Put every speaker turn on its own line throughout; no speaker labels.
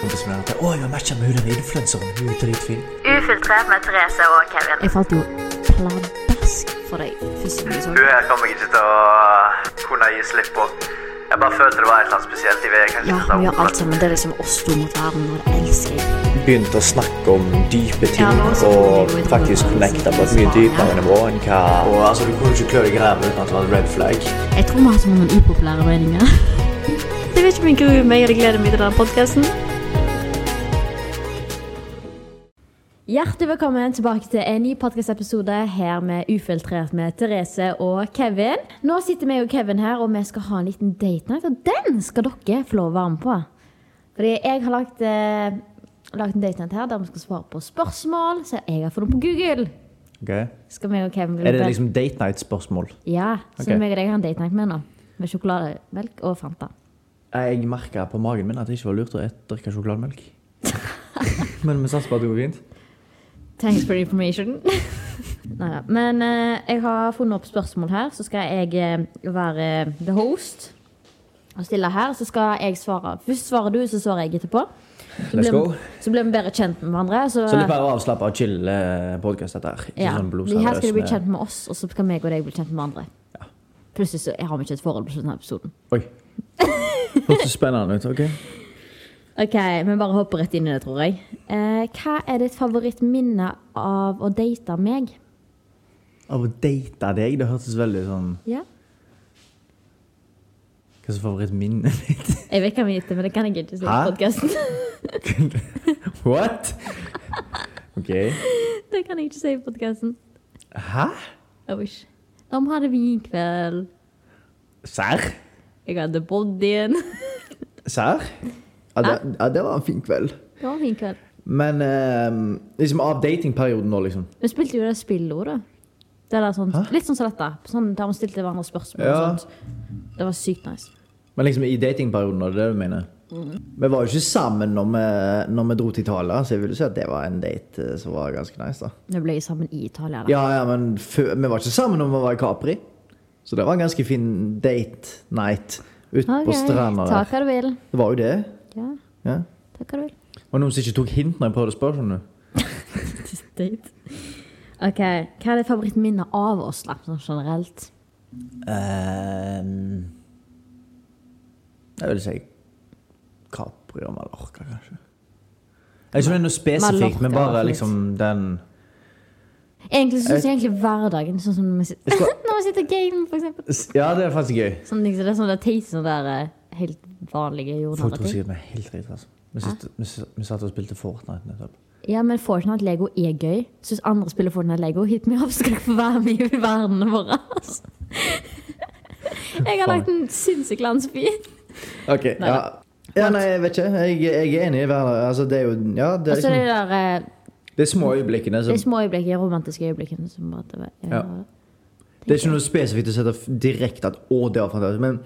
kompis min at å, jeg har matcha med hun der influenseren. Hun er dritfin.
Ufiltrert med Therese og Kevin.
Jeg falt jo pladask for deg første gang jeg så
Du
den.
her kommer jeg ikke til å kunne gi slipp på. Jeg bare følte det var et eller annet spesielt i VG.
Ja, vi gjør alt sammen. Det er liksom oss to mot verden, og det elsker jeg.
Begynte å snakke om dype ting
Ja, nå så kommer
og
vi jo i
faktisk
den
connecta på et
sparen,
mye dypere
ja.
nivå enn hva Og altså, Du kunne ikke klø deg i ræva uten at det var en red flag.
Jeg tror vi har så mange upopulære meninger. Jeg vet ikke om jeg gruer meg eller gleder meg til denne podkasten.
Hjertelig velkommen tilbake til en ny podkast-episode her med Ufiltrert med Therese og Kevin. Nå sitter vi og Kevin her, og vi skal ha en liten date night, og den skal dere få lov å være med på. Fordi jeg har lagt, eh, lagt en date night her der vi skal svare på spørsmål som jeg har funnet på Google. Skal vi og Kevin bli
Er det
venn?
liksom date night-spørsmål?
Ja, så
Ok.
meg og deg har en date night med nå. Med sjokolademelk og Fanta.
Jeg merka på magen min at det ikke var lurt å et- drikke sjokolademelk. Men vi satser på at det går fint.
Thanks for the information. Neida. Men eh, jeg har funnet opp spørsmål her, så skal jeg eh, være the host og stille her. Så skal jeg svare. Først svarer du, så svarer jeg etterpå. Så
Let's
blir vi-
go.
Så blir vi bedre kjent med hverandre. Så,
Så litt mer avslappa og chill eh, podcast dette her. Ikke
ja.
sånn
De her skal
blodseriøs
du bli
med
kjent med oss, og så skal meg og deg bli kjent med hverandre. Plutselig så har vi ikke et forhold på slutten av episoden.
Oi. Hørtes spennende ut. OK.
Ok, Vi bare hopper rett inn i det, tror jeg. Eh, hva er ditt favorittminne av å date meg?
Av å date deg, det hørtes veldig sånn
Ja.
Hva som er favorittminnet mitt?
Jeg vet hva vi gjetter, men det kan jeg ikke si i
Hæ?
podkasten.
What? OK.
Det kan jeg ikke si i podkasten.
Hæ?
I wish. Om hadde vinkveld.
Serr?
Jeg hadde bodyen.
Serr? Ja, det, ja, det var en fin kveld.
Det var en fin kveld.
Men eh, liksom av datingperioden nå, liksom.
Vi spilte jo det spillet også, da. Det der sånn, litt sånn som dette. Sånn der vi stilte hverandre spørsmål
Ja.
og sånt. Det var sykt nice.
Men liksom i datingperioden, da, det er det du mener? Vi var jo ikke sammen når vi, når vi dro til Italia, så jeg ville si at det var en date eh, som var ganske nice. da.
Nå ble jeg sammen i Italia, da.
Ja, ja, men fø- vi var ikke sammen når vi var i Capri. Så det var en ganske fin date night ute på stranda
ta
der.
hva du vil.
Det var jo det.
Ja,
Ja.
ta hva du vil.
Det var noen som ikke tok hint når jeg prøvde å spørre. skjønner du?
Date. Ok, hva er ditt favorittminne av oss, da? Sånn generelt.
Ehm, jeg vil si Capri og Mallorca, kanskje. Jeg skjønner noe spesifikt,
Mallorca
men
var
bare
fint.
liksom den
Egentlig synes
Eh.
jeg egentlig hverdagen, sånn som når vi sitter- når vi sitter og gamer, for eksempel.
Ja, det er faktisk gøy.
Sånn, liksom, det er sånn det er teite sånne der eh, helt vanlige jordnære
Folk tror
ting.
sikkert vi er helt riktig, altså. Vi, sitter, vi, s- vi satt og spilte Fortnite nettopp.
Ja, men Fortnite Lego er gøy. Syns andre spiller Fortnite Lego. Hit me up, skal dere få være med i verdenen vår. altså. Jeg har lagt en sinnssyk landsby.
Ok, ja. Ja, nei, jeg vet ikke. Jeg, jeg er enig i hverdagen. Altså, det er jo Ja, det
Og
er
så de
liksom
der eh,
Det er små øyeblikkene.
de
Som,
små øyeblikkene, romantiske øyeblikkene. Som bare, det, var-
Ja. det er ikke noe spesifikt å sette f- direkte at 'å, det var fantastisk', men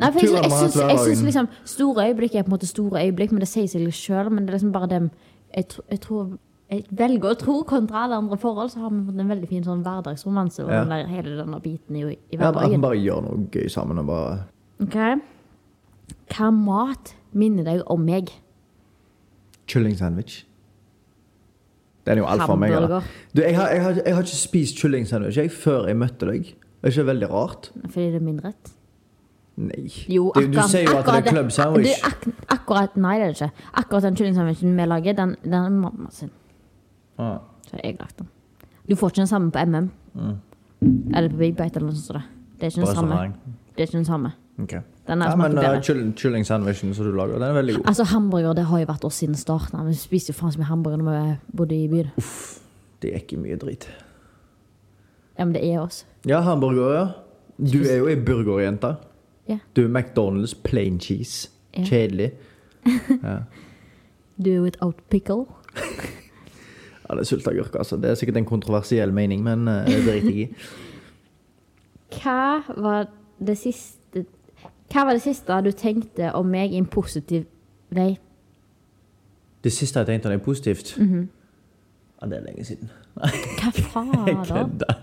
Nei, for jeg,
Turen
jeg,
man har
syns,
hatt
jeg syns
hverdagen.
liksom Store øyeblikk er på en måte store øyeblikk, men det sier seg sjøl. Men det er liksom bare dem jeg, tr- jeg tror jeg velger å tro kontra alle andre forhold, så har vi fått en veldig fin sånn hverdagsromanse. Og
Ja.
den der, hele denne biten i, i
ja, at vi
hverdagen.
bare gjør noe gøy sammen og bare
Ok. Hva mat minner deg om meg?
Kylling sandwich. Den er jo alt for meg. eller?
Hamburger.
Du, jeg har, jeg, har, jeg har ikke spist kylling sandwich jeg, før jeg møtte deg. Det er ikke veldig rart?
Fordi det er min rett.
Nei.
Jo,
du, du
akkurat-
sier jo at det
akkurat
er club sandwich.
Du, ak akkurat, nei, det er det ikke. Akkurat den kyllingsandwichen vi lager, den, den er mamma sin.
Ah.
Så jeg lagt den. Du får ikke den samme på MM. Eller på Big Bite eller noe sånt. som det. Det er ikke den samme.
Restaurant.
Det er ikke den samme.
Ok.
Den er
ja,
smaker
men
bedre.
uh, kylling, kylling sandwichen som du lager, den er veldig god.
Altså, hamburger det har jo vært oss siden starten. av. Vi spiste jo faen så mye hamburger når vi bodde i byen.
Det er ikke mye drit.
Ja, men det er oss.
Ja, hamburger, ja. Du er jo ei burgerjente.
Ja.
Du er McDonald's plain cheese.
Ja.
Kjedelig.
Do it without pickle.
Ja, det er sylteagurk, altså. Det er sikkert en kontroversiell mening, men uh, det driter jeg i.
Hva var det siste Hva var det siste du tenkte om meg i en positiv vei?
Det siste jeg tenkte om det er positivt
Mhm.
Ja, det er lenge siden.
Hva
Jeg
faen da?
kødder.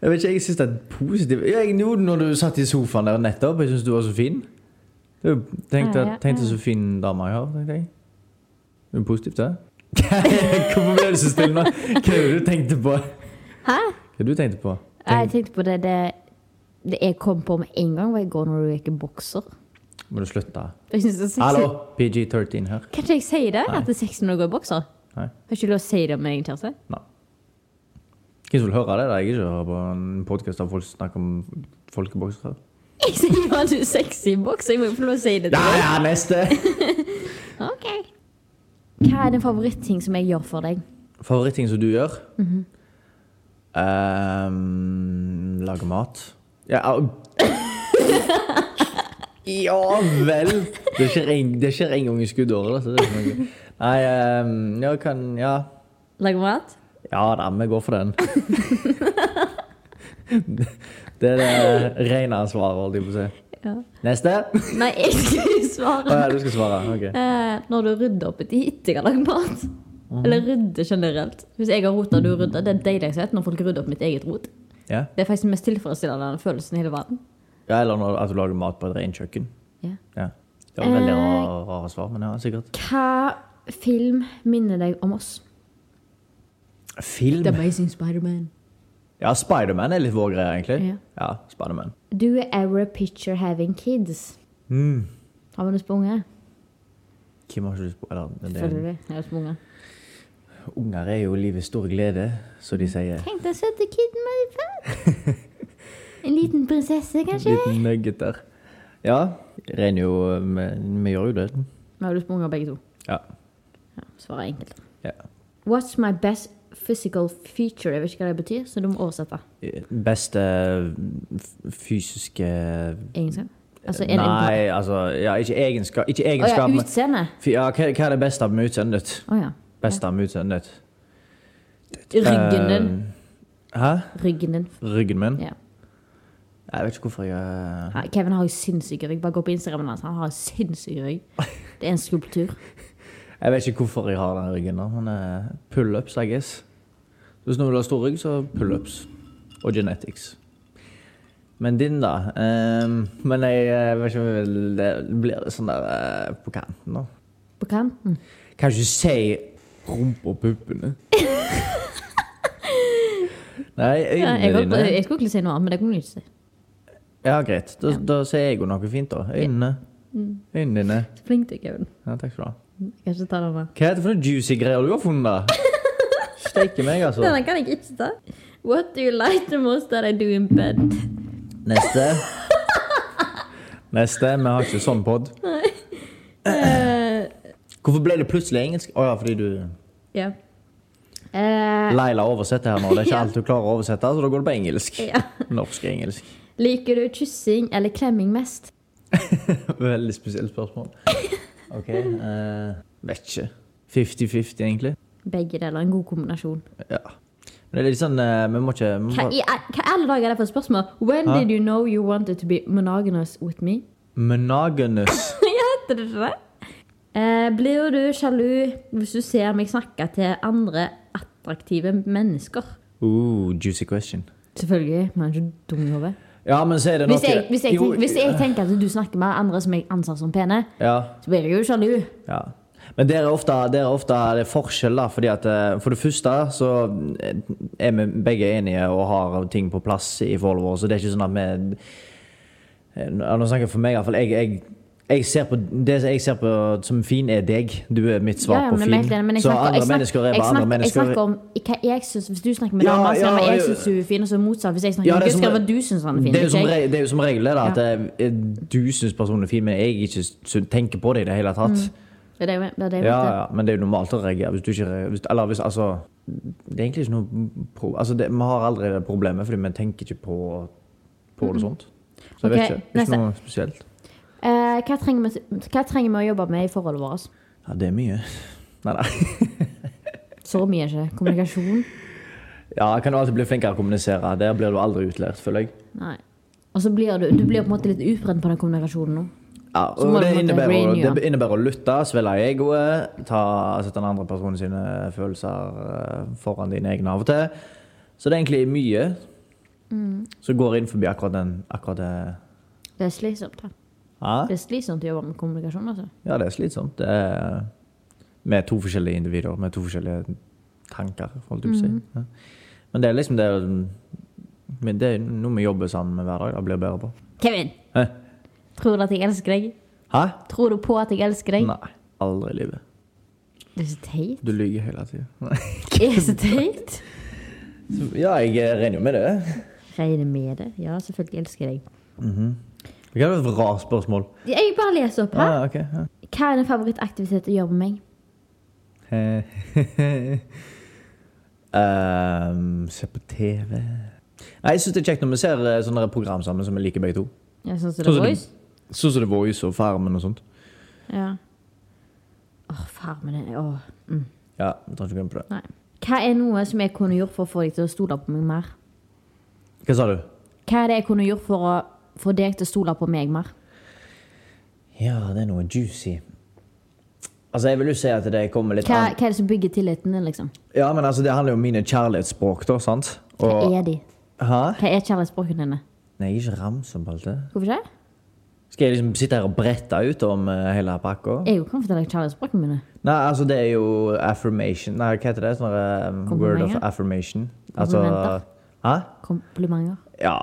Jeg vet ikke, jeg syns det er positivt Ja, jeg gjorde når du satt i sofaen der nettopp. Jeg syns du var så fin. Det er jo- Tenk
Ja, ja,
deg- tenk deg
ja.
så fin dame jeg har. tenkte jeg. Det er jo positivt, det. Hvorfor ble du så stille nå? Hva er det du tenkte på?
Hæ?
Hva er det du tenkte på?
Jeg
Tenk,
tenkte på det, det, det jeg kom på med en gang, var i går når du gikk i bokser.
må du slutte?
Jeg synes det er sexy.
Hallo, PG13 her.
Kan ikke jeg si det?
Nei.
At det er sexy når du går i bokser?
Nei.
Har ikke lov å si det om egen kjæreste?
Nei. Hvem som vil høre det? da? Jeg ikke hører på en podkast der folk snakker om folkeboksere.
Jeg sier jo at du er sexy i bokser, jeg må jo få lov å si det til
Ja,
deg.
ja, neste!
Ok. Hva er din favoritting som jeg gjør for deg?
Favoritting som du gjør? Ehm, lage mat. Ja, au. ja vel! Det skjer, en, det skjer en gang i skuddåret. da, så det er ikke noe. Nei, ehm, jeg kan Ja.
Lage mat?
Ja da, vi går for den. Det er det rene svaret, holdt jeg på å si.
Ja.
Neste.
Nei, jeg skal jo
Å
svare.
ja, du skal svare. Ok.
Eh, når du rydder opp etter etter jeg har lagd mat.
Mhm.
Eller rydder generelt. Hvis jeg har rota, du rydder. Det er deilighet når folk rydder opp mitt eget rot.
Ja.
Det er faktisk den mest tilfredsstillende følelsen i hele verden.
ja eller når, at du lager mat på et rent kjøkken.
Ja.
Ja. Det var veldig rare, rare svar, men ja, sikkert.
Hva film minner deg om oss?
Film.
Amazing Spiderman.
Ja, Spiderman er litt vår greie, egentlig.
Ja.
Ja, Spiderman.
Do you ever picture having kids?
Mm.
Har vi lyst på unge?
Hvem har ikke lyst på Eller, det er,
Selvfølgelig. Jeg har lyst på unge.
unger er jo livets store glede, så de sier.
Tenk deg søte kiden med ditt far. En liten prinsesse, kanskje?
Liten nugget der. Ja, regner jo Vi, vi gjør jo det.
Vi har lyst på unger begge to.
Ja.
Ja, svarer enkelt.
ja.
What's my best physical feature? Jeg vet ikke hva det betyr, så du må oversette.
Beste f- fysiske
Egenskap? Altså, en
Nei, altså ja, Ikke egenskap. Ikke
Å ja,
egenskap men-
utseende.
Fy- ja, hva, hva er det beste med utseendet ditt?
Å ja.
Beste med utseendet ditt?
Ryggen din.
Eh, Hæ?
Ryggen din.
Ryggen min?
Ja.
Jeg vet ikke hvorfor jeg
Nei, Kevin har jo sinnssyk rygg. Bare gå på Instagramen hans. Han har sinnssyk rygg. Det er en skulptur.
Jeg vet ikke hvorfor jeg har den ryggen, da, men eh, pullups, I guess. Hvis noen vil ha stor rygg, så pullups. Og genetics. Men din, da? ehm, men jeg eh, vet ikke om jeg vil Det blir litt sånn der eh, på kanten, da.
På Mm. kanten.
Kan ikke si rumpa og puppene. Nei,
Ja, jeg,
øynene
holdt på,
dine.
jeg skulle egentlig si noe annet, men det kunne jeg ikke si.
Ja, greit. Da, da sier jeg jo noe fint, da. Øynene.
Mm.
Øynene dine.
Så flink du er, Kevin.
Ja, takk skal du ha.
Jeg kan ikke ta den der.
Hva er det for noen juicy greier du har funnet? Steike meg, altså.
Denne kan jeg ikke ta. What do you like the most that I do in bed?
Neste. Neste. Vi har ikke sånn pod.
Eh,
Hvorfor ble det plutselig engelsk? Å ja, fordi du
Ja. Eh,
Leila oversetter her nå. Det er ikke
Ja.
alt du klarer å oversette, så da går det på engelsk.
Ja.
Norsk-engelsk.
liker du kyssing eller klemming mest?
Veldig spesielt spørsmål. OK. eh, vet ikke. 50-50, egentlig.
Begge deler. En god kombinasjon.
Ja. Men det er litt sånn eh, Vi må ikke vi
Hva
må,
i hva i alle dager er det for et spørsmål? When
Hæ?
did you know you wanted to be monogamous with me?
Monogamous.
Jeg heter det ikke det? Eh, blir du sjalu hvis du ser meg snakke til andre attraktive mennesker?
Ooh, juicy question.
Selvfølgelig. Man er ikke dum i hodet.
Ja, men så er det noe
Hvis, jeg- hvis, jeg
Jo,
tenk- hvis jeg tenker at du snakker med andre som jeg anser som pene,
Ja.
så blir jeg jo sjalu.
Ja. Men der er ofte, der er ofte det er forskjell, da. Fordi at, eh, for det første så eh, er vi begge enige og har ting på plass i forholdet vårt, så det er ikke sånn at vi Eh, Nå snakker jeg for meg, iallfall. Jeg, jeg, jeg ser på, det jeg ser på som fin, er deg. Du er mitt svar
Ja, ja,
på
men
fin.
jeg er helt enig, men jeg
så
snakker- jeg
andre
snakker-
mennesker er
jeg
bare
snakker-
andre mennesker.
Jeg snakker om hva jeg syns Hvis du snakker med
Ja,
damer, så
ja,
er det hva jeg
ja.
syns hun er fin, og så motsatt. Hvis jeg snakker
Ja,
med
det er
gutter,
som
så er det
re-
hva du syns han er fin.
Det er, jo som,
ikke jeg.
re- det er jo som regel det, da, at eh, du syns personen er fin, men jeg ikke sy- tenker på det i det hele tatt.
Mm. Det er det jeg- det er det jeg
Ja,
mente.
ja, men det er jo normalt å reagere hvis du ikke re- hvis, Eller hvis altså Det er egentlig ikke noe pro, altså det, Vi har aldri det problemet, fordi vi tenker ikke på, på det sånt. Så jeg
Ok,
vet ikke. Det er
neste.
ikke noe spesielt.
Eh, hva, trenger vi, hva trenger vi å jobbe med i forholdet vårt?
Ja, det er mye. Nei, nei.
Så mye er ikke det. Kommunikasjon.
Ja, jeg kan jo alltid bli flinkere til å kommunisere. Der blir du aldri utlært, føler jeg.
Nei. Og så blir du, du blir på en måte litt utbrent på den kommunikasjonen nå.
Ja,
Så må
og det
du på en måte
innebærer,
renew.
det innebærer å lytte, svelle egoet, ta, sette den andre personen sine følelser eh, foran dine egne av og til. Så det er egentlig
Mm.
mye som går inn forbi akkurat, den, akkurat det
Det er slitsomt. da.
Hæ?
Det er slitsomt å jobbe med kommunikasjon, altså.
Ja, det er slitsomt. Det er med to forskjellige individer, med to forskjellige tanker, holdt jeg på å si. Ja. Men det er liksom det Men det er noe vi jobber sammen med hver dag. Det blir jeg bedre på.
Kevin!
Hæ?
Tror du at jeg elsker deg?
Hæ?
Tror du på at jeg elsker deg?
Nei. Aldri i livet.
Du er så teit.
Du lyver hele tida.
Jeg er så teit.
ja, jeg eh, regner jo med det.
Regner med det. Ja, selvfølgelig elsker jeg deg.
Mhm. Det kan være et rart spørsmål.
Jeg bare leser opp her.
Ah, ok, ja.
Hva er din favorittaktivitet å gjøre med meg?
Ehm, se på TV Nei, Jeg syns det er kjekt når vi ser eh, sånne program sammen som vi liker begge to.
Jeg synes det
Sånn
er
som
voice.
det- Sånn som The Voice og Farmen og sånt.
Ja. Åh, farmen er... Åh. Mm.
Ja, vi tar ikke grunn på det.
Nei. Hva er noe som jeg kunne gjort for å få deg til å stole på meg mer?
Hva sa du?
Hva er det jeg kunne gjort for å få deg til å stole på meg mer?
Ja, det er noe juicy. Altså, jeg vil jo si at det kommer litt
Hva,
an
hva er det som bygger tilliten din, liksom?
Ja, men altså, det handler jo om mine kjærlighetsspråk, da, sant?
Hva
Og
er de?
Hæ?
Hva er kjærlighetsspråkene dine?
Nei, jeg er ikke ramsebalte.
Hvorfor ikke?
Skal jeg liksom sitte her og brette ut om eh, hele pakka?
Jeg kan fortelle deg kjærlighetsspråkene mine.
Nei, altså det er jo affirmation Nei, hva heter det? Sånn um, word of
Komplimenter?
affirmation. Altså
Komplimenter?
Hæ?
Komplimenter.
Ja.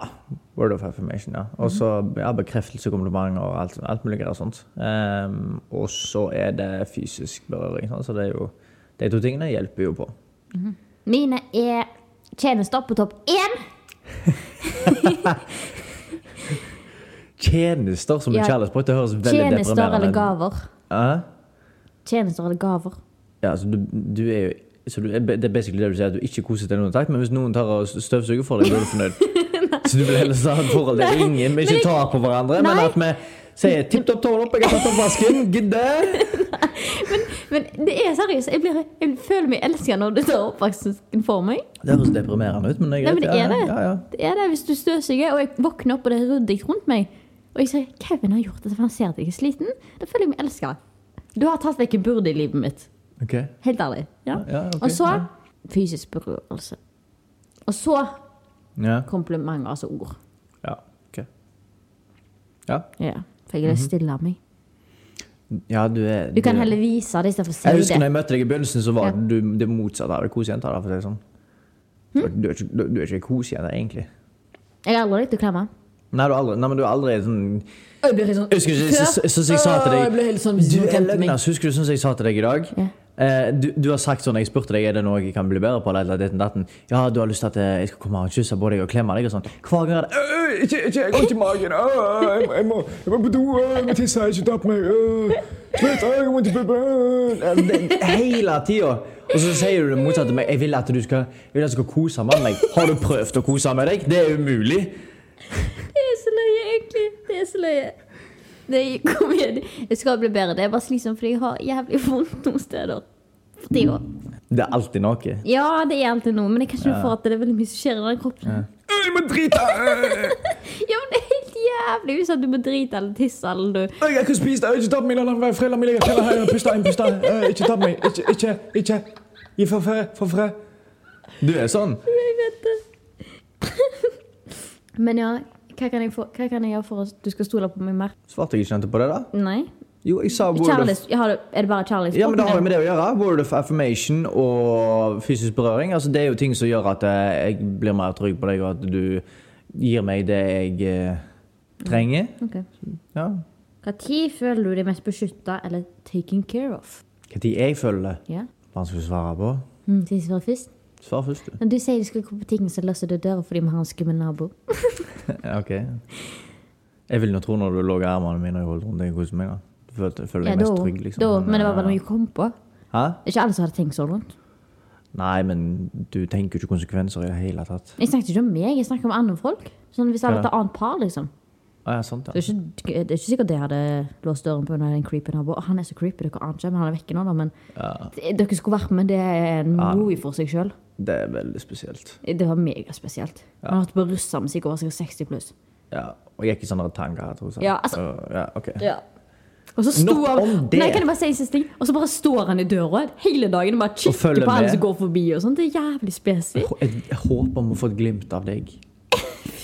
Word of affirmation, ja. Og så ja, bekreftelse, komplimenter og alt, alt mulig greier og sånt. Um, og så er det fysisk berøring, sånn, så det er jo De to tingene hjelper jo på.
Mine er tjenester på topp én.
Tjenester som
Ja.
er kjærlighetsspråk, det høres veldig
Tjenester
deprimerende
eller
ut.
gaver.
Hæ?
Tjenester eller gaver.
Ja, så du, du er jo så du, er- Det er basically det du sier, at du ikke koser deg noen takk, men hvis noen tar og støvsuger for deg, blir du fornøyd. så du vil heller ha et forhold der
Nei,
ingen vi
men jeg-
ikke tar på hverandre, men
Nei.
at vi sier tipp topp tål opp, jeg har tatt opp vasken, gidde!
Men det er seriøst. Jeg, blir, jeg føler meg elsket når du tar oppvasken for meg.
Det høres deprimerende ut, men det er
Nei,
greit.
men det er det.
Ja, ja.
Det er det hvis du støvsuger, og jeg våkner opp, og det er ryddig rundt meg. Og jeg sier 'Kevin har gjort dette, for han ser at jeg er sliten'. Da føler jeg meg elska. Du har tatt vekk en byrde i livet mitt.
Ok.
Helt ærlig. Ja.
Ja, ok.
Og så
Ja.
fysisk berørelse. Og så
Ja.
komplimenter, altså ord.
Ja. ok. Ja.
Ja. For jeg er stille av meg.
ja, du Mhm. er
Du kan
du-
heller vise det istedenfor å si
Jeg husker når
det.
jeg møtte deg i begynnelsen, så var
Ja.
du det motsatte av en kosejente. da, for å si det sånn.
Hm?
Du er ikke, du, du er ikke en kosejente, egentlig.
Jeg har aldri likt å klemme.
Nei, du er aldri, nei, men du er aldri sånn
Jeg blir helt sånn
Husker du så- så- så jeg sa til deg Du er løgnas, husker du sånn som jeg sa til deg i dag?
Ja.
Eh, du, du har sagt sånn, jeg spurte deg, er det noe jeg kan bli bedre på? Eller, eller ditten, datten. Ja, du har lyst til at eh, jeg skal komme og kysse på deg og klemme deg og sånn. Hver gang er det «Øh, øh, Ikke, ikke, jeg går ikke i magen. Øh, øh, jeg, må- jeg, må, jeg må på do. øh, Jeg må tisse. jeg har Ikke ta på meg. øh, Slutt. øh, Jeg må ikke puppe. øh». Ja, det- Hele tida. Og så sier du det motsatte til meg. Jeg vil at du skal, jeg vil at du skal kose med meg. Har du prøvd å kose med deg? Det er umulig.
Det er så løye, egentlig. Det er så løye. Nei, kom igjen. Jeg skal bli bedre. Det er bare slitsomt fordi jeg har jævlig vondt noen steder. For tida.
Det er alltid noe.
Ja, det er alltid noe, men jeg kan ikke få at det er veldig mye som skjer i den kroppen.
«Øh, Jeg må drite. øh.
Ja, men det er helt jævlig hvis at du må drite eller tisse eller du
Jeg kan spise det, ikke tapp meg, la meg være frilla mi, jeg frilla her, pusta inn, pusta Eh, Ikke tapp meg, ikke, ikke, ikke. Gi for fred, for fred. Du er sånn.
Jeg vet det. Men ja, hva kan, jeg få, hva kan jeg gjøre for at du skal stole på meg mer?
Svarte jeg ikke nettopp på det, da?
Nei?
Jo, jeg sa word of
Kjærlighets... jeg har det- Er det bare kjærlighetsspråk?
ja, men Det har jo med det å gjøre. Word of affirmation og fysisk berøring. Altså, det er jo ting som gjør at eh, jeg blir mer trygg på deg, og at du gir meg det jeg eh, trenger.
Ok.
Ja.
Hva tid føler du deg mest beskytta eller taken care of?
Når jeg føler det.
Ja.
Vanskelig å svare på.
Mm, skal jeg svare først?
Svar først, du.
Når du sier du skal gå på ting, så låser du døra fordi vi har en skummel nabo.
Ja, ok. Jeg ville nå tro når du lå i armene mine og jeg holdt rundt deg og koste meg, da. Du følte, følte deg mest trygg, liksom.
da, men det var
eh,
bare noe jeg kom på.
Hæ?
Det er Ikke alle som hadde tenkt så rundt.
Nei, men du tenker jo ikke konsekvenser i det hele tatt.
Jeg snakket ikke om meg, jeg snakket om andre folk. Sånn Hvis jeg hadde
Ja.
et annet par, liksom.
Å ja, sant,
Det
ja.
er ikke, det er ikke sikkert jeg hadde låst døren på under en creepy nabo. Å, Han er så creepy, dere aner ikke, men han er vekke nå, da. Men Det- dere skulle vært med, det er en movie for seg sjøl.
Det er veldig spesielt.
Det var megaspesielt. Han har vært på russemusikk og var sikkert 60 pluss.
Ja. Og jeg sånn gikk i sånne tanker her, tror jeg.
Ja, altså-
Så, ja, ok.
Ja. Og så sto
Nok
han
om det.
Nei, kan jeg bare si en siste ting? Og så bare står han i døra hele dagen og bare kikker
følger
på alle
med.
som går forbi. og sånn. Det er jævlig spesifikt.
Jeg, jeg håper om å få et glimt av deg.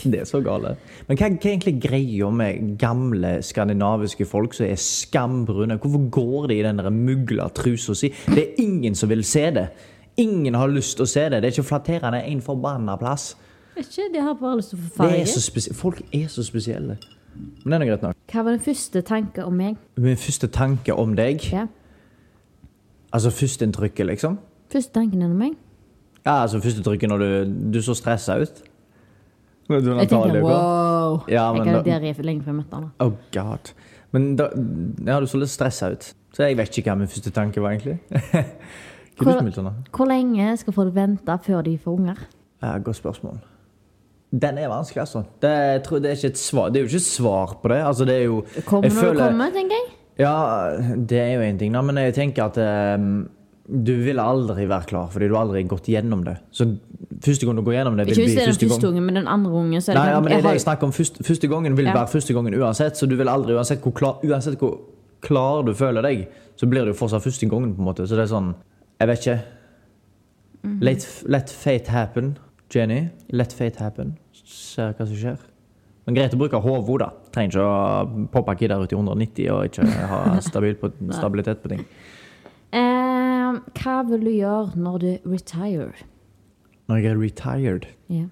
Det er så gale. Men hva, hva er egentlig greia med gamle skandinaviske folk som er skambrune? Hvorfor går de i den der mugla trusa si? Det er ingen som vil se det. Ingen har lyst til å se det. Det er ikke flatterende en forbanna plass.
Vet ikke, de har bare lyst til å få
Det er
farge.
så spesi- Folk er så spesielle. Men den er greit nok.
Hva var den første tanken om meg?
Min første tanke om deg,
Ja.
altså førsteinntrykket, liksom.
Første tanken om meg?
Ja, altså førsteinntrykket når du, du så stressa ut. Når du
Jeg tenker wow.
Ja,
jeg
men
hadde
da-
diaré for lenge før jeg møtte han. da.
Oh god. Men da, ja, du så litt stressa ut. Så jeg vet ikke hva min første tanke var, egentlig. Hva er du
Hvor-
som vil sånn, da?
Hvor lenge skal folk vente før de får unger?
Ja, godt spørsmål. Den er vanskelig, altså. Det, jeg tror, det, er ikke et svar. det er jo ikke et svar på det. Altså, det er jo
Kommer
jeg
når
føler-
du kommer, tenker jeg.
Ja, det er jo en ting, da, men jeg tenker at ehm, du vil aldri være klar, fordi du har aldri gått gjennom det. Så første gang du går gjennom det, vil
Ikke hvis
bli
det er den
første gang.
første ungen, men den andre ungen. Så er det
Nei, ja,
kan-
men det
jeg
er det
har-
jeg snakker om. Første, første gangen vil
Ja.
være første gangen uansett, så du vil aldri, uansett hvor klar, uansett hvor klar du føler deg, så blir det jo fortsatt første gangen, på en måte. Så det er sånn Jeg vet ikke. Let, let fate happen, Jenny. Let fate happen. Ser hva som skjer. Men greit å bruke hodet, da. Trenger ikke å poppe kidder ut i 190 og ikke ha stabil på, stabilitet på ting.
Eh, hva vil du gjøre når du retire?
Når jeg er retired
Ja.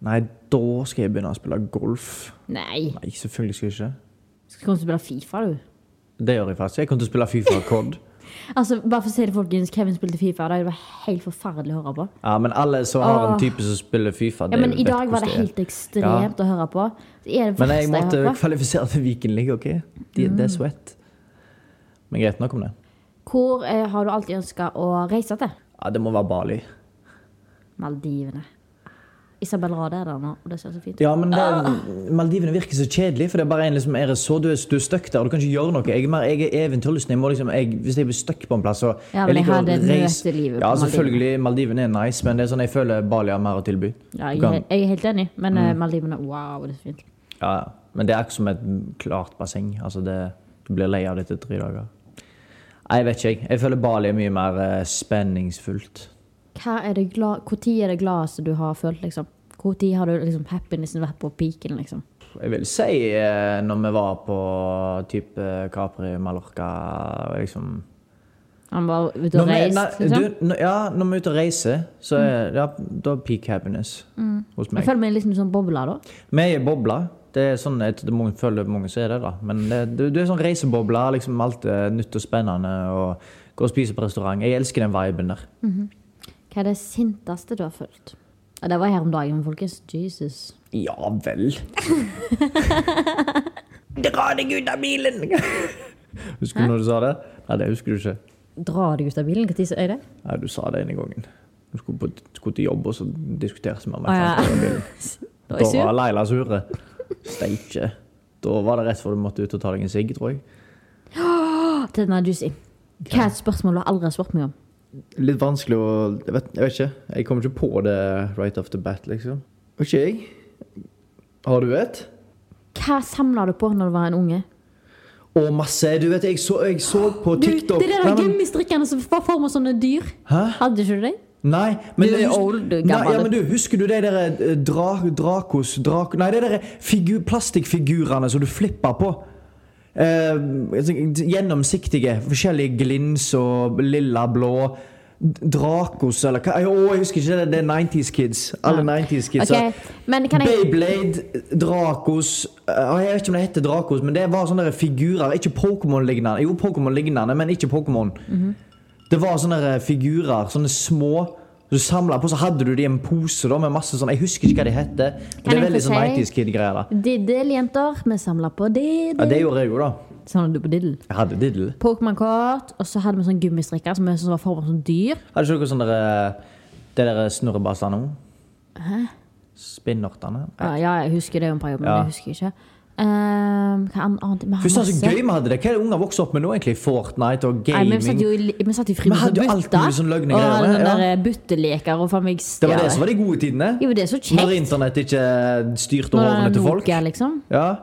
Nei, da skal jeg begynne å spille golf.
Nei,
Nei, selvfølgelig skal jeg ikke.
skal du spille Fifa, du?
Det gjør jeg faktisk. Jeg kommer til å spille Fifa Cod.
Altså, bare for å si det, folkens, Kevin spilte Fifa, og det var helt forferdelig å høre på.
Ja, men alle som har en
Åh.
type som spiller Fifa det
Ja, men
vet
i dag var
hvordan
det
er.
helt ekstremt å høre på. Det er det
Men
verste
jeg
jeg har
måtte
hørt på.
kvalifisere til Vikenliga, OK? De, Det
Mm.
er svett. Men greit nok om det.
Hvor eh, har du alltid ønska å reise til?
Ja, det må være Bali.
Maldivene. Isabel Rade er der nå, og det ser så fint ut.
Ja, men det,
Ah.
Maldivene virker så kjedelig, for det er bare en liksom, er det så, du er, du er stuck der, og du kan ikke gjøre noe. Jeg er, mer, jeg er eventyrlysten. Jeg må liksom, jeg, hvis jeg blir stuck på en plass, så
Ja, men jeg
liker å
hadde
reise-
møtelivet på
Ja,
Maldivene.
selvfølgelig. Maldivene er nice, men det er sånn, jeg føler Bali har mer å tilby.
Ja,
Du
jeg,
kan- Mm.
er- jeg er helt enig, men eh, Maldivene Wow, det er så fint.
Ja, ja. Men det er ikke som et klart basseng. Altså det, du blir lei av det etter tre dager. Nei, jeg vet ikke. jeg. Jeg føler Bali er mye mer eh, spenningsfullt.
Hva er det gla hvor tid er det glasset du har følt, liksom? Hvor tid har du liksom happinessen vært på piken, liksom?
Jeg vil si eh, når vi var på type Capri, Mallorca og liksom
Han var ute
når
og
vi,
reist,
nei,
liksom? Mm.
du, når- Ja, når vi er ute og reiser, så er ja, da er peak happiness hos
Jeg
meg.
føler meg liksom sånn bobla, da.
Vi er i bobla. Det er sånn, jeg tror mange, føler mange som er det, da. Men det, du, du er sånn reisebobla. Liksom alt er nytt og spennende. Og går og spiser på restaurant. Jeg elsker den viben der.
Hva er det sinteste du har følt? Ja, det var her om dagen, folkens. Jesus.
Ja vel. Dra deg ut av bilen! Husker du når du sa det? Nei, det husker du ikke.
Dra deg ut av bilen? Når er det?
Nei, du sa det en gang. Du skulle, på, skulle til jobb, og så diskuterte vi om
Å,
jeg
ja.
fant deg i bilen.
Da
Da
er jeg
var
sur.
Leila sure. Steike. Da var det rett før du måtte ut og ta deg en sigg, tror jeg.
Den er juicy. Hva er et spørsmål du aldri har spurt meg om?
Litt vanskelig å jeg vet, jeg vet ikke. Jeg kommer ikke på det right off the bat, liksom. Ok. Har du et?
Hva samla du på når du var en unge?
Å, masse. Du vet, jeg så, jeg så på
Du,
TikTok
det er de
Nei, men-
gummistrikkene som var formet sånne dyr.
Hæ?
Hadde ikke du det?
Nei, men
Du er
jeg husker-
old, du er
Nei, ja,
gammel.
men du, husker du de der eh, dra, Dracos drak, Nei, de der figu, plastikkfigurene som du flipper på? Eh, gjennomsiktige. Forskjellige glins og lilla, blå. Dracos eller hva Å, jeg husker ikke det. Det er 90's Kids. Alle 90's Kids.
Ok, Men kan jeg
Beyblade, Dracos eh, Jeg vet ikke om det heter Dracos, men det var sånne der figurer. Ikke Pokémon-lignende. Jo, Pokémon-lignende, men ikke Pokémon.
Mhm.
Det var sånne der figurer, sånne små som Du samla på, så hadde du de i en pose da, med masse sånn Jeg husker ikke hva de heter. Men det
jeg
er veldig
få
sånn
si-
90's Kid-greier. da
Diddel, jenter. Vi samla på
Ja, Det
diddel.
gjorde jeg jo, da.
Samla du på diddel?
Jeg hadde diddel.
Pokémon-kort, og så hadde vi sånn gummistrikker som er sånn- var formet som dyr.
Hadde ikke dere sånne der, eh, Det der snurrebassene nå? Spinnortene?
Ja, ja, jeg husker det jo en periode, men
Ja.
jeg husker ikke. Ehm, hva an- annet? Vi har
Først var det
masse.
så gøy vi sånn hadde det. Hva er det unger vokser opp med nå, egentlig? Fortnite og
Nei, men vi satt
gaming?
jo i, li- vi satt i
Vi hadde
friminutt
jo
og
alt
bytta.
mulig sånn løgne
og
greier
hadde
med,
den
ja.
der eh, bytteleker og faen meg
Det var det som var de gode tidene.
Jo, det er så
Når
kjekt.
internett ikke styrte
Når det er
årene til folk.
Nokia, liksom.
Ja.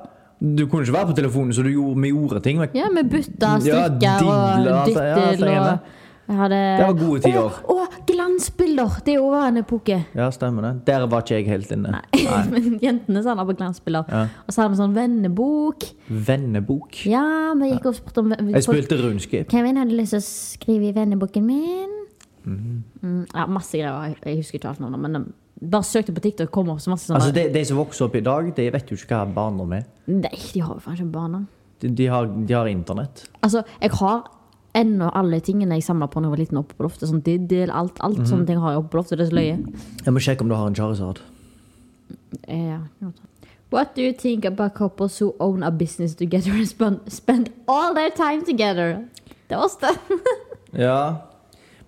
Du kunne ikke være på telefonen, så du gjorde, vi gjorde ting. Vet. du.
Ja, vi bytta
Ja,
strikker
didler, altså, ja,
og dyttel
det er
og
greiene.
jeg hadde...
Det var gode tider.
Og, og glansbilder Glansbilder, det er jo hva han er pukke.
Ja, stemmer det. Der var ikke jeg helt inne.
Men jentene sa han har på glansbilder.
Ja.
Og så hadde vi sånn vennebok.
Vennebok.
Ja, vi gikk og spurte om
Jeg
folk-
spilte rundskip.
Kevin hadde lyst til å skrive i venneboken min.
Mhm.
Mm, ja, masse greier. Jeg- Jeg husker ikke alt navnet, men de bare søkte på TikTok og kom opp så masse sånne
Altså, de, de som vokser opp i dag, de vet jo ikke hva barndom er.
Nei, de har jo faen ikke barna.
De, de, har, de har internett.
Altså, jeg har ennå alle tingene jeg samla på da jeg var liten, oppe på loftet. Sånn diddel, alt, alt
Mhm.
sånne ting har jeg oppe på loftet. Det er så løye.
Jeg må sjekke om du har en charizard.
Eh, ja, jo da. What do you think about couples who own a business together and spend, spend all their time together? Det var oss, det.
Ja.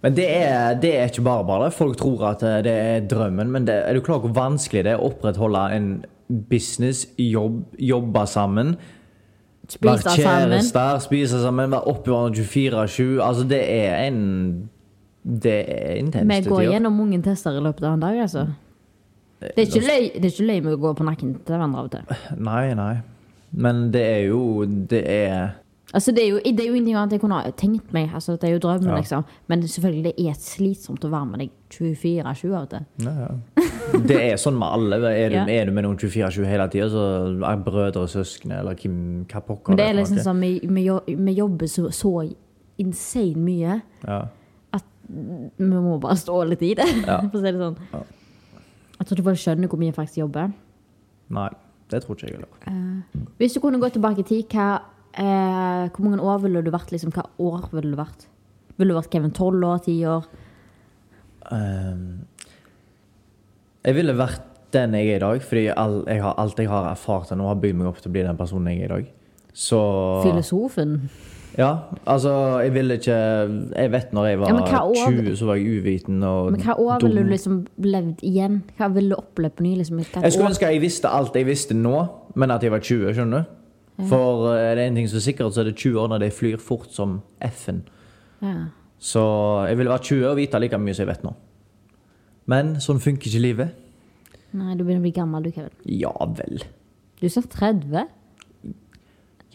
Men det er, det er ikke bare bare. Folk tror at eh, det er drømmen, men det, er du klar over hvor vanskelig det er å opprettholde en business, jobb, jobbe sammen,
Spise
være
sammen.
kjærester, spise sammen, være oppi hverandre 24-7? Altså, det er en Det er intenst.
Vi
til
går
tider.
gjennom mange tester i løpet av en dag, altså. Det er ikke løy, det er ikke løy med å gå på nakken til hverandre av og til.
Nei, nei. Men det er jo Det er
Altså, det er jo, det er jo ingenting annet jeg kunne ha tenkt meg. Altså, det er jo drømmen,
Ja.
liksom. Men selvfølgelig, det er slitsomt å være med deg 24-20 av og til.
Det er sånn med alle. Er du,
Ja.
er du med noen 24-7 hele tida, så er brødre og søsken eller hvem, hva pokker
Men det
er
er
for
liksom
noe.
sånn, vi, vi, jo- vi jobber så, så insane mye
ja.
at vi må bare stå litt i det, for å si det sånn. Jeg tror ikke folk skjønner hvor mye jeg faktisk jobber.
Nei, det tror ikke jeg heller.
Hvis du kunne gå tilbake i tid, hva, eh, hvor mange år ville du vært? Liksom, hva år ville du vært? Ville du vært Kevin 12 år, 10 år?
Ehm, jeg ville vært den jeg er i dag, fordi all, jeg har, alt jeg har erfart til nå, har bygd meg opp til å bli den personen jeg er i dag. Så
Filosofen?
Ja, altså, jeg ville ikke Jeg vet når jeg var
Ja, men hva år-
20, så var jeg uvitende og
Men hva år ville du liksom levd igjen? Hva ville du opplevd på ny? Liksom, hva
Jeg skulle
år?
ønske jeg visste alt jeg visste nå, men at jeg var 20. skjønner du? For eh, er det en ting som er sikkert, så er det 20 år når de flyr fort som F-en.
Ja.
Så jeg ville vært 20 og vite like mye som jeg vet nå. Men sånn funker ikke livet.
Nei, du begynner å bli gammel, du, Kevin.
Ja vel.
Du er snart 30.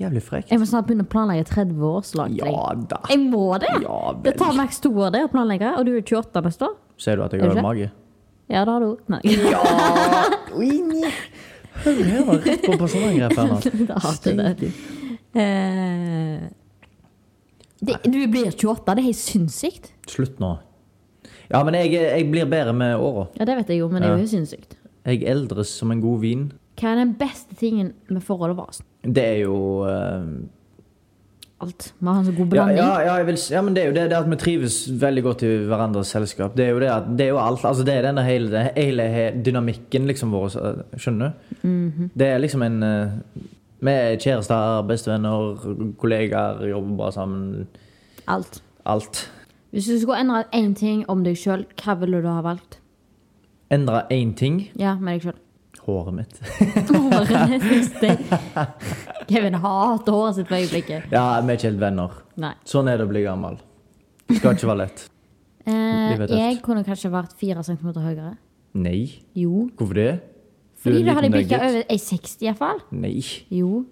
Jævlig frekt.
Jeg må snart begynne å planlegge 30-årslag til
Ja
deg.
da.
Jeg må det!
Ja
det tar
vel.
maks to år det å planlegge, og du er 28 neste år.
Ser du at jeg
Er
har
det
en mage?
Ja, det har du. Nei.
Hør her, da. Rett på personangrep her nå.
Da har du det. Eh, det, du blir 28, det er helt sinnssykt.
Slutt nå. Ja, men jeg, jeg blir bedre med åra.
Ja, det vet jeg jo, men det er jo helt sinnssykt.
Jeg eldres som en god vin.
Hva er den beste tingen med forholdet vårt?
Det er jo eh,
Alt. Vi har en så god
Ja,
blanding.
ja, ja, jeg vil, s- ja, men det er jo det, det at vi trives veldig godt i hverandres selskap. Det er jo, det at, det er jo alt. Altså, det er denne hele, det- hele, he- dynamikken liksom vår. eh, Skjønner du? Det er liksom en eh, Vi er kjærester, bestevenner, kollegaer, jobber bare sammen.
Alt.
Alt.
Hvis du skulle endre én ting om deg sjøl, hva ville du ha valgt?
Endra én ting.
Ja, med deg sjøl.
Håret mitt.
Håret synes jeg. Kevin hater håret sitt for øyeblikket.
Ja, vi er ikke helt venner.
Nei.
Sånn er det å bli gammel. Det Skal ikke være lett.
Eh,
Livet er
jeg kunne kanskje vært fire centimeter høyere.
Nei.
Jo.
Hvorfor det? er
Fordi
en
du hadde
liten
bikka
nugget.
over ei 60 iallfall.
Nei.
Jo.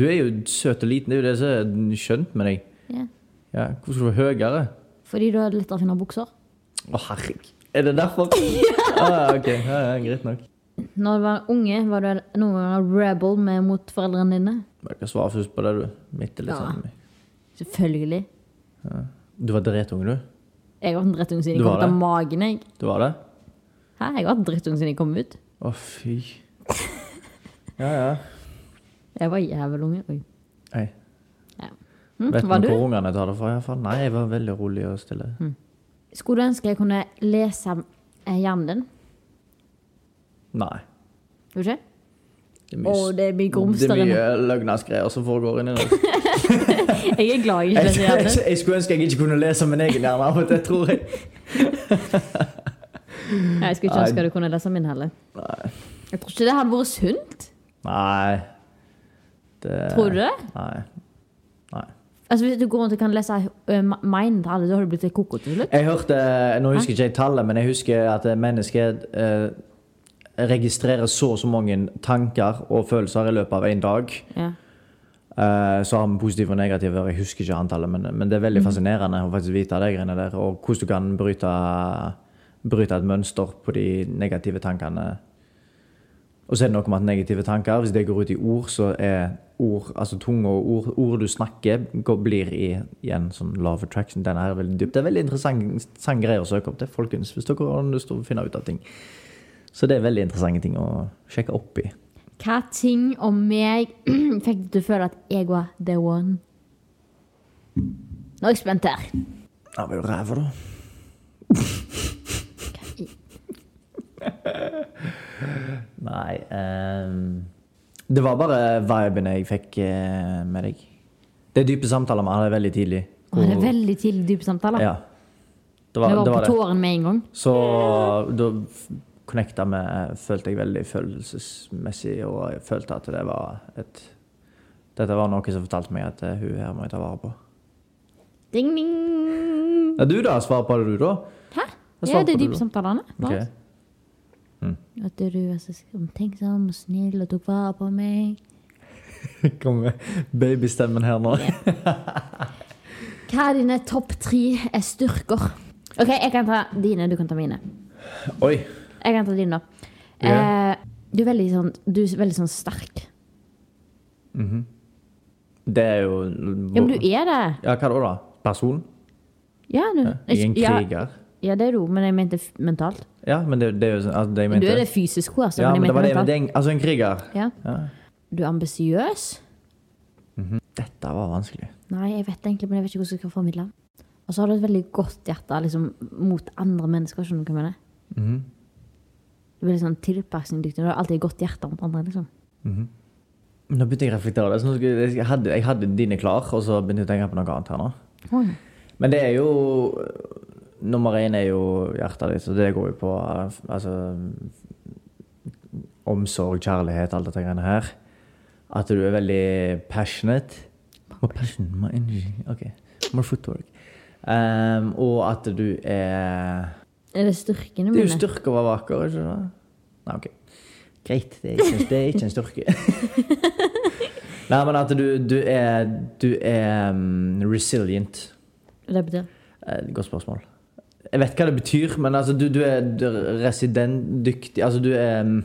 Du er jo søt og liten. Det er jo det som er skjønt med deg.
Ja.
Ja, Hvorfor skal du være høyere?
Fordi du hadde lettere å finne bukser.
Å, herregud. Er det derfor? ah, ok, ja, ja, Greit nok.
Når du var unge, var du noen ganger rebel med, mot foreldrene dine?
Jeg kan svare først på det, du. Midt eller
Ja.
sånn.
Selvfølgelig.
Du var dritunge, du?
Jeg har vært en drittung
Du
siden jeg kom
var
ut av
det?
magen. Jeg.
Du var det?
Hæ? Jeg har vært drittung siden jeg kom ut.
Å, fy. Ja, ja.
Jeg var jævel unge. Oi.
Hei.
Ja.
Vet
Hm, var
du
du?
hvor ungene tar det fra? i hvert fall? Nei, jeg var veldig rolig og stille.
Skulle du ønske jeg kunne lese eh, hjernen din?
Nei.
Tror du ikke?
Det er
Å,
mye,
det blir
det er
grumstere.
mye løgnasgreier som foregår inni der.
Jeg er glad
Jeg,
jeg ikke leser
jeg,
hjernen.
jeg skulle ønske jeg ikke kunne lese min egen hjerne, men det tror jeg.
Nei, Jeg skulle ikke
Nei.
ønske du kunne lese min heller. Jeg tror ikke det hadde vært sunt.
Nei. Det...
Tror du det?
Nei. Nei.
Altså Hvis du går rundt og kan lese eh, ma- mind til alle, da har du blitt en koko til slutt.
Jeg hørte, Nå husker ikke jeg tallet, men jeg husker at mennesket eh, registrerer så og så mange tanker og følelser i løpet av en dag.
Ja.
Eh, så har vi positive og negative. Jeg husker ikke antallet, men, men det er veldig fascinerende å faktisk vite det greiene der, og hvordan du kan bryte bryte et mønster på de negative tankene. Og så er det noe med at negative tanker, hvis det går ut i ord, så er ord, altså tunge og ord, ord du snakker, går, blir i, igjen sånn love attraction. Denne her er veldig dypt. Det er veldig interessant, interessant greier å søke opp til, folkens, hvis dere har lyst til å finne ut av ting. Så det er veldig interessante ting å sjekke opp i.
Hva ting om meg fikk du til å føle at jeg var the one? Nå er jeg spent her.
Ja, men ræva, da. Nei ehm, Det var bare viben jeg fikk eh, med deg. Det er dype samtaler vi hadde veldig tidlig.
Å, det er veldig tidlig dype samtaler.
Ja. Det
det
var
var
det.
på
Var det.
tåren med en gang.
Så da f- connecta vi eh, Følte jeg veldig følelsesmessig, og jeg følte at det var et Dette var noe som fortalte meg at eh, hun her må jeg ta vare på.
Ding, ding. Mm.
Ja, du, da? Svar på det, du, da?
Hæ?
Jeg
Ja,
svarer
det er
på det,
dype
da.
samtalene.
Ok.
At du var så omtenksom og snill og tok vare på meg.
Kommer med babystemmen her nå.
Hva er dine topp tre eh, styrker? Ok, jeg kan ta dine, du kan ta mine.
Oi.
Jeg kan ta dine nå.
Ja.
Eh, du er veldig sånn, du er veldig sånn sterk.
Det er jo
Ja, men du er det.
Ja, hva da? da? Person?
Ja, du,
Jeg er en
ja,
kriger.
ja, det er du, men jeg mente f- mentalt.
Ja, men det, det er jo sånn altså, det jeg
Men du
mente.
er det fysisk også, altså,
ja,
men
men
jeg
det var
mente
det, men
mentalt.
det er en, altså en kriger.
Ja.
Ja.
Du er ambisiøs.
Dette var vanskelig.
Nei, jeg vet det egentlig, men jeg vet ikke hvordan jeg skal formidle den. Og så har du et veldig godt hjerte liksom, mot andre mennesker, skjønner du hva jeg mener?
Mhm.
Du er veldig sånn tilpasningsdyktig, du har alltid et godt hjerte mot andre, liksom.
Nå begynte jeg å reflektere. det, så nå skulle- Jeg hadde, jeg hadde dine klar, og så begynte jeg å tenke på noe annet her nå.
Oi.
Men det er jo Nummer én er jo hjertet ditt, og det går jo på altså, omsorg, kjærlighet, alt dette greiene her. At du er veldig passionate. My passion, my energy. OK. My footwork. Ehm, og at du er
Er det styrkene
Det er
mine?
jo styrke å være vakker, ikke sant? Nei, OK. Greit. Det er ikke, det er ikke en styrke. Nei, men at du, du er, du er mm, resilient.
Det betyr
Eh, Godt spørsmål. Jeg vet hva det betyr, men altså, du, du er du er residentdyktig Altså, du er mm,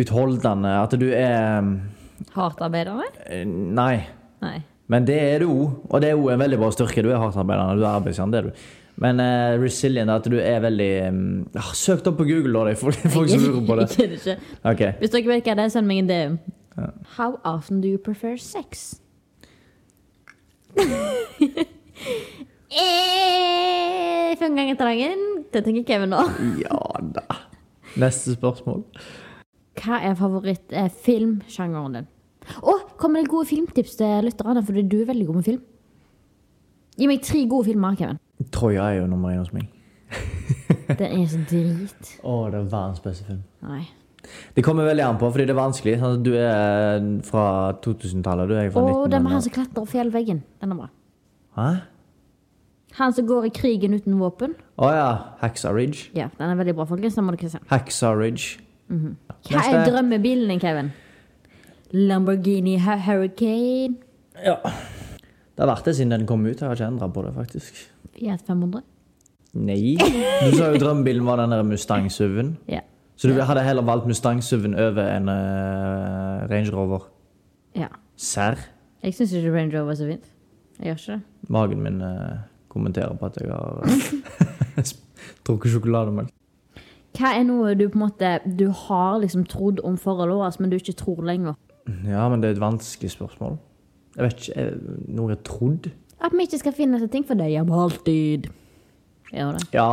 utholdende. At du er mm,
Hardtarbeiderne?
eh, Nei.
Nei.
Men det er du òg, og det er òg en veldig bra styrke. Du er hardtarbeidende, du er arbeidsmann, det er du. Men eh, resilient, at du er veldig mm, ah, Søk det opp på Google, da, det er folk, folk som lurer på det.
Jeg gidder ikke.
Ok.
Hvis dere vet hva det er, send meg en DM. How often do you prefer sex? Eh, Fem ganger til dagen. Det tenker Kevin nå.
Ja da. Neste spørsmål.
Hva er favoritt-filmsjangeren din? Å, kom med gode filmtips til lytterne, for du er veldig god med film. Gi meg tre gode filmer, Kevin.
Troja er jo nummer én hos meg.
Den er så drit.
Å, det er verdens beste film.
Nei.
Det kommer veldig an på, fordi det er vanskelig. sant? Du er eh, fra 2000-tallet. Du er fra
Å,
1900.
den med han som klatrer opp fjellveggen. Den er bra.
Hæ?
Han som går i krigen uten våpen.
Å ja. Haxa Ridge.
Ja, den er veldig bra, folkens. Den må dere se.
Haxa Ridge.
Hva er
Neste.
drømmebilen din, Kevin? Lamborghini Hu- Hurricane
Ja. Det har vært det siden den kom ut. Jeg har ikke endra på det, faktisk.
Fiat 500?
Nei. Du sa jo drømmebilen var den der Mustang-SUV-en.
Ja.
Så du hadde heller valgt Mustang-SUV-en over en eh, Range Rover.
ja.
Serr?
Jeg syns ikke Range Rover er så fint. Jeg gjør ikke det.
Magen min eh, kommenterer på at jeg har eh, drukket sjokolademelk.
Hva er noe du på en måte Du har liksom trodd om forholdet vårt, men du ikke tror lenger?
Ja, men det er et vanskelig spørsmål. Jeg vet ikke eh, Noe jeg trodd?
At vi ikke skal finne oss ting for det gjør vi alltid. Gjør det.
Ja,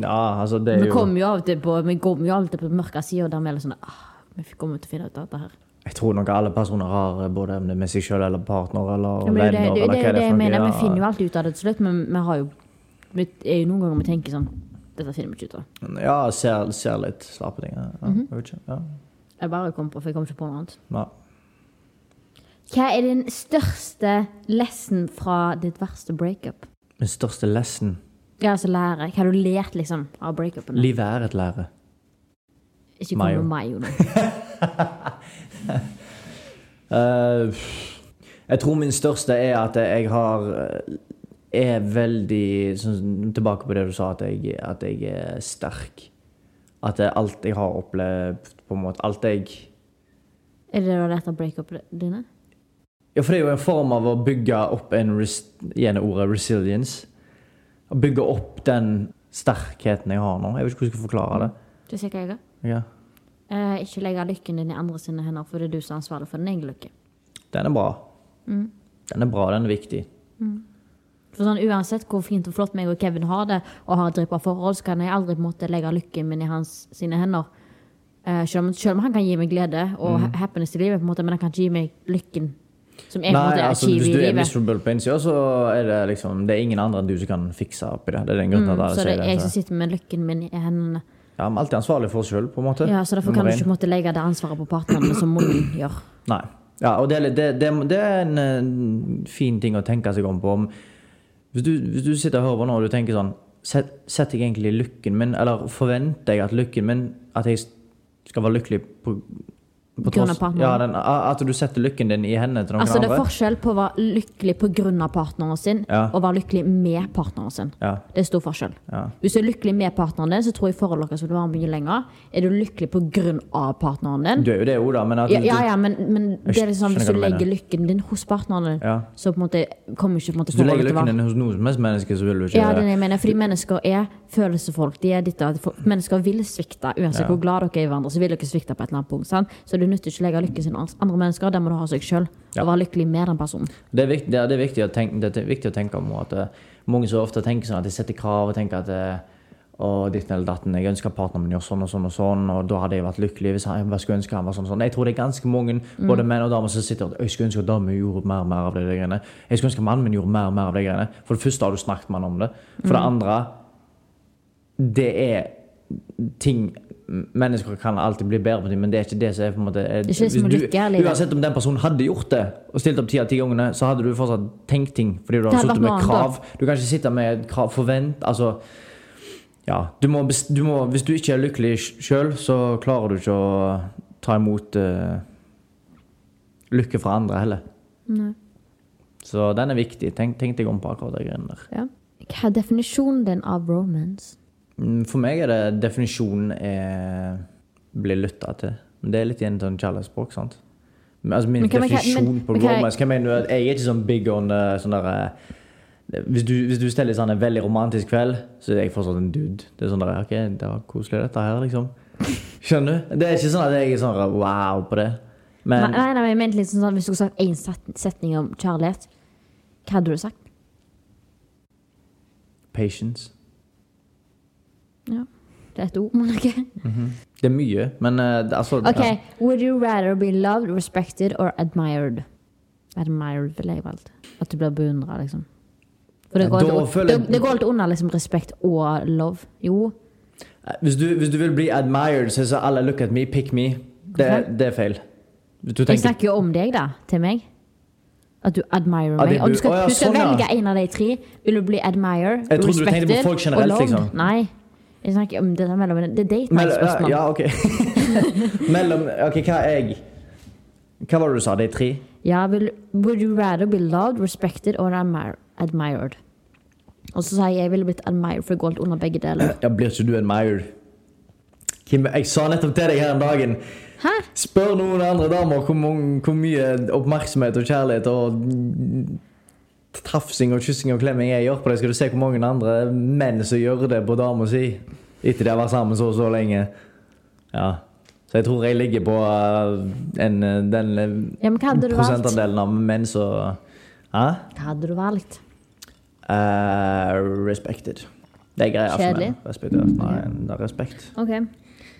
ja, altså det er
Vi
jo
kommer jo av og til på Vi kommer jo av og til på mørke sider der vi er litt sånn ah, Vi kommer til å finne ut av dette her.
Jeg tror nok alle personer har eh, både om det er med seg sjøl eller partner eller
Ja, men det, er jo
venner
det, det, det,
eller
det,
hva
det jeg mener. Vi
for
finner
noe.
jo alltid ut av det til slutt, men vi har jo vi er jo noen ganger vi tenker sånn Dette finner vi ikke ut av.
Ja, ja ser, ser litt svar på ting. Ja,
Mhm.
jeg vet ikke. Ja.
Jeg bare kom på, for jeg kom ikke på noe annet.
Nei.
Hva er din største lesson fra ditt verste breakup?
Min største lesson
Ja, altså lære. Hva har du lært liksom, av breakupen?
Livet er et lære.
Ikke kom med Mayo nå.
Eh, jeg tror min største er at jeg har eh, er veldig sånn, Tilbake på det du sa, at jeg, at jeg er sterk. At det er alt jeg har opplevd, på en måte Alt jeg
Er det det var dette breakupet dine?
Ja, for det er jo en form av å bygge opp en res, Igjen ordet resilience. Å bygge opp den sterkheten jeg har nå. Jeg vet ikke hvordan jeg skal forklare det.
Du ser hva jeg gjør?
Ja.
Eh, ikke legge lykken din i andre sine hender, for det er du som er ansvarlig for din egen lykke.
Den er bra. Den er bra, den er viktig.
For sånn, Uansett hvor fint og flott meg og Kevin har det, og har et drypp av forhold, så kan jeg aldri på en måte legge lykken min i hans sine hender. Eh, selv, om, selv om han kan gi meg glede og
Mhm.
ha- happiness i livet, på en måte, men han kan ikke gi meg lykken. Som jeg på en måte er
altså, hvis
i
du er
livet.
miserable på innsida, så er det liksom Det er ingen andre enn du som kan fikse opp i det. altså. Det er den grunnen til at
Mm, Så det
alle sier
er jeg
det.
som
Så.
sitter med lykken min i hendene.
Ja, men alltid ansvarlig for oss sjøl, på en måte.
Ja, så Derfor kan
Nummer
du
én.
ikke på en måte legge det ansvaret på partnerne, som moren gjør.
Nei. Ja, og det er, litt- det, det, det er en eh, fin ting å tenke seg om på. Om, hvis, du, hvis du sitter og hører på nå og du tenker sånn set, Setter jeg egentlig lykken min, eller forventer jeg at lykken min At jeg skal være lykkelig på, på
Grunn av
tross-
partneren.
ja, den, At du setter lykken din i hendene til noen
Altså, det er
andre?
forskjell på å være lykkelig pga. partneren sin
Ja.
og være lykkelig med partneren sin.
Ja.
Det er stor forskjell.
Ja.
Hvis du er lykkelig med partneren din, så tror jeg forholdet deres vil vare mye lenger. Er du lykkelig pga. partneren din?
Du er jo det, Oda, men at
Ja, ja, ja men, men det er liksom,
skjønner
hvis du
hva du mener.
legger lykken din hos partneren din,
Ja.
så på en måte kommer ikke på en måte
Hvis du legger
forholdet til å
lykken
vare.
din hos noe som helst menneske, så vil du ikke
Ja, det er det jeg mener. Fordi mennesker er følelsesfolk. De er ditt og datt. Folk- Mennesker vil svikte. Uansett hvor glad dere er i hverandre, så vil dere svikte på et eller annet punkt. Sant? Så du nytter ikke å legge lykken sin hos andre mennesker. Den må du ha seg sjøl.
Ja.
Og være lykkelig med den personen.
Det er, viktig, det, er, det, er viktig å tenke, det er viktig å tenke om at eh, mange så ofte tenker sånn at de setter krav og tenker at eh, å, ditten eller datten, jeg ønsker partneren min gjør sånn og sånn og sånn, og da hadde jeg vært lykkelig hvis han, jeg bare skulle ønske han var sånn og sånn. Jeg tror det er ganske mange,
Mm.
både menn og damer, som sitter og jeg skulle ønske at damen min gjorde mer og mer av det der greiene. Jeg skulle ønske mannen min gjorde mer og mer av det greiene. For det første har du snakket med han om det. For
Mm.
det andre, det er ting Mennesker kan alltid bli bedre på ting, men det er ikke det som er på en måte er,
er ikke det som er
hvis du-
lykke her i livet.
Uansett om den personen hadde gjort det og stilt opp ti av ti gangene, så hadde du fortsatt tenkt ting. Fordi du har
Det hadde vært
sittet med
noe
krav. Du kan ikke sitte med et krav forvent. Altså Ja. Du må, bes- du må Hvis du ikke er lykkelig sjøl, så klarer du ikke å ta imot eh, lykke fra andre heller. Så den er viktig. Tenk, tenk deg om på akkurat de greiene der.
Hva er definisjonen din av romance?
Mm, For meg er det definisjonen er blir lytta til. Men Det er litt igjen sånn kjærlighetsspråk, sant? Men, altså min
Men hva- men hva-
definisjon
men-
på
men hva-
romance Hva mener du? At jeg er ikke sånn big on eh, sånn der eh, hvis du, hvis du steller sånn en veldig romantisk kveld, så er jeg fortsatt en dude. Det er sånn der, ok, det var koselig dette her, liksom. Skjønner du? Det er ikke sånn at jeg er sånn der, wow på det.
Nei,
Men
nei, nei, men jeg mente litt sånn at Hvis du skulle sagt én set- setning om kjærlighet, hva hadde du sagt?
patience.
Det er et ord, men ok.
Det er mye, men eh, det- altså
Ok,
ja.
Would you rather be loved, respected or admired? Admired vil jeg valgt. At du blir beundra, liksom. For det
Ja,
går,
da
litt,
føler jeg-
det, det går litt under liksom, respekt og love. Jo.
Eh, Hvis du, hvis du vil bli admired, så er så alle 'look at me, pick me'. Det, er- det er feil. Hvis Du
Jeg
tenker
snakker jo om deg, da. Til meg. At du admirer
Ja, det
meg.
bur-
Og du skal,
Å, ja,
du skal
sånn, ja.
velge en av de tre. Vil du bli admirer,
Jeg trodde du tenkte på
respected
folk generelt,
og loved?
liksom.
Nei. Jeg snakker om det der mellom Det er date
Mell- ja,
night-spørsmål.
ja, ok. Mellom Ok, hva er jeg? Hva var det du sa? De tre?
Ja, vil, would you rather be loved, respected or admir- admired? Og så sa jeg jeg ville blitt admired for gold under begge deler.
Ja, blir ikke du admired? Kim, jeg sa nettopp til deg her en dagen
Hæ?
Spør noen andre damer hvor, mange, hvor mye oppmerksomhet og kjærlighet og tafsing og kyssing og klemming jeg gjør på deg. Skal du se hvor mange andre menn som gjør det på dama si etter de har vært sammen så og så lenge. Ja. Så jeg tror jeg ligger på eh, en, eh, den eh,
Ja, men hva hadde du valgt?
prosentandelen av menn som Hæ?
Hva hadde du valgt?
Eh, respected. Det er greia for
Kjedelig.
meg. Respected. Nei, det er respekt.
Ok.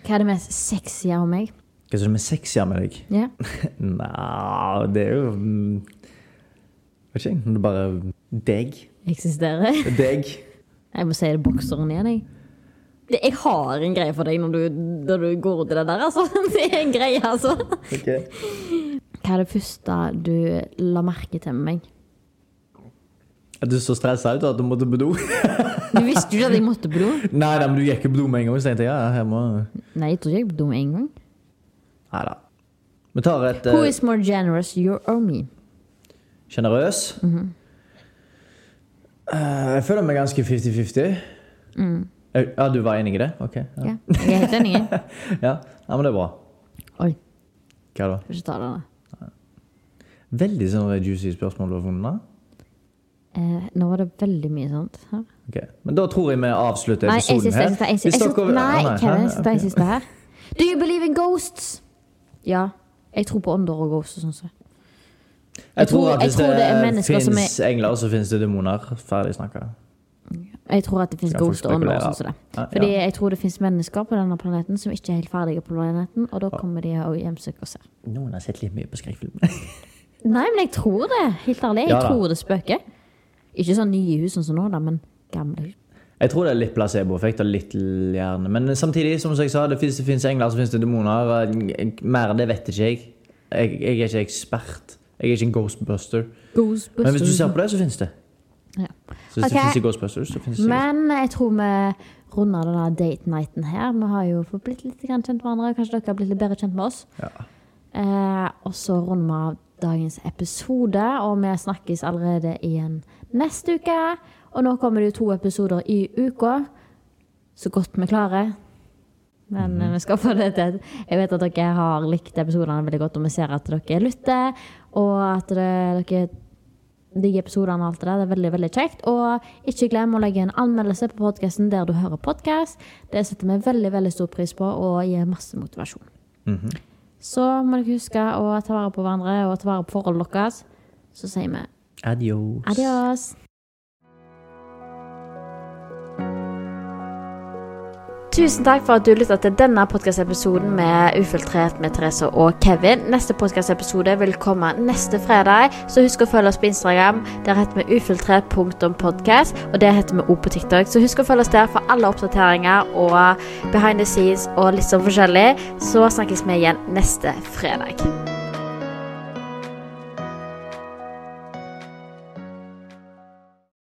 Hva er det mest sexy av meg?
Hva er det som er sexy med deg?
Ja.
Nja, det er jo mm, Vet ikke, jeg. Det er bare deg.
Eksisterer?
Deg.
Jeg må si det bokseren igjen, jeg. Det, jeg har en greie for deg når du, når du går ut i det der, altså. Det er en greie, altså.
Ok.
Hva er det første du la merke til med meg?
Er du så stressa ut at du måtte på do?
Du visste jo ikke at jeg måtte på do.
Nei da, men du gikk jo på do med en gang. Så tenkte jeg ja, jeg må
Nei, jeg tror ikke jeg er på do med en gang.
Nei da. Vi tar et
Who
eh,
is more generous, you or me?
sjenerøs. Eh, Jeg føler meg ganske 50-50. Eh, Ja, du var enig i det? Ok. Ja.
Mm. Ja. Jeg er helt enig.
Ja. ja, men det er bra.
Oi,
Hva da?
får ikke ta det da.
Veldig sånn juicy spørsmål du har funnet. da.
Eh, nå var det veldig mye sånt her.
Ok, Men da tror jeg vi avslutter
Nei, jeg
episoden
siste,
her.
jeg siste, jeg
Hvis
siste. Jeg siste.
dere-
Nei,
Ah,
Kevin, jeg
hæ?
siste, jeg
Ok.
siste her. Do you believe in ghosts? Ja. Jeg tror på ånder og ghosts og sånn. Så.
Jeg tror
tror-
at
jeg
hvis
tror det er
det
mennesker som er-
fins engler, så fins det demoner. Ferdig snakka.
Jeg tror at det finnes
Skal folk
ghost og ånder og
spekulere?
sånn som det.
Ja, ja.
Fordi jeg tror det finnes mennesker på denne planeten som ikke er helt ferdige på planeten, og da kommer de og hjemsøker oss her.
Noen har sett litt mye på skrekkfilm.
Nei, men jeg tror det. Helt ærlig. Jeg
Ja da.
tror det spøker. Ikke sånn nye hus sånn som nå, da, men gamle hus.
Jeg tror det er litt placeboeffekt og litt hjerne. Men samtidig, som jeg sa, det fins det finnes engler, så fins det demoner. Mer enn det vet ikke jeg. jeg. Jeg er ikke ekspert. Jeg er ikke en ghostbuster. Men hvis du ser på det, så fins det.
Ja.
Så hvis
Ok.
det fins ghostbusters, så fins det sikkert-
Men jeg tror vi runder denne date nighten her. Vi har jo fått blitt litt grann kjent med hverandre. Kanskje dere har blitt litt bedre kjent med oss.
Ja.
Eh, og så runder vi av dagens episode, og vi snakkes allerede igjen neste uke. Og nå kommer det jo to episoder i uka, så godt vi klarer. Men eh, vi skal få det til. Jeg vet at dere har likt episodene veldig godt, og vi ser at dere lytter, og at det, dere digger episodene og alt det der. Det er veldig, veldig kjekt. Og ikke glem å legge en anmeldelse på podkasten der du hører podkast. Det setter vi veldig, veldig stor pris på, og gir masse motivasjon.
Mhm.
Så må dere huske å ta vare på hverandre og ta vare på forholdet deres. Så sier vi
Adios.
adios. Tusen takk for at du lytta til denne podkastepisoden med Ufiltrert med Therese og Kevin. Neste podkastepisode vil komme neste fredag, så husk å følge oss på Instagram. Der heter vi ufiltrert.podkast, og det heter vi òg på TikTok. Så husk å følge oss der for alle oppdateringer og behind the scenes og litt sånn forskjellig. Så snakkes vi igjen neste fredag.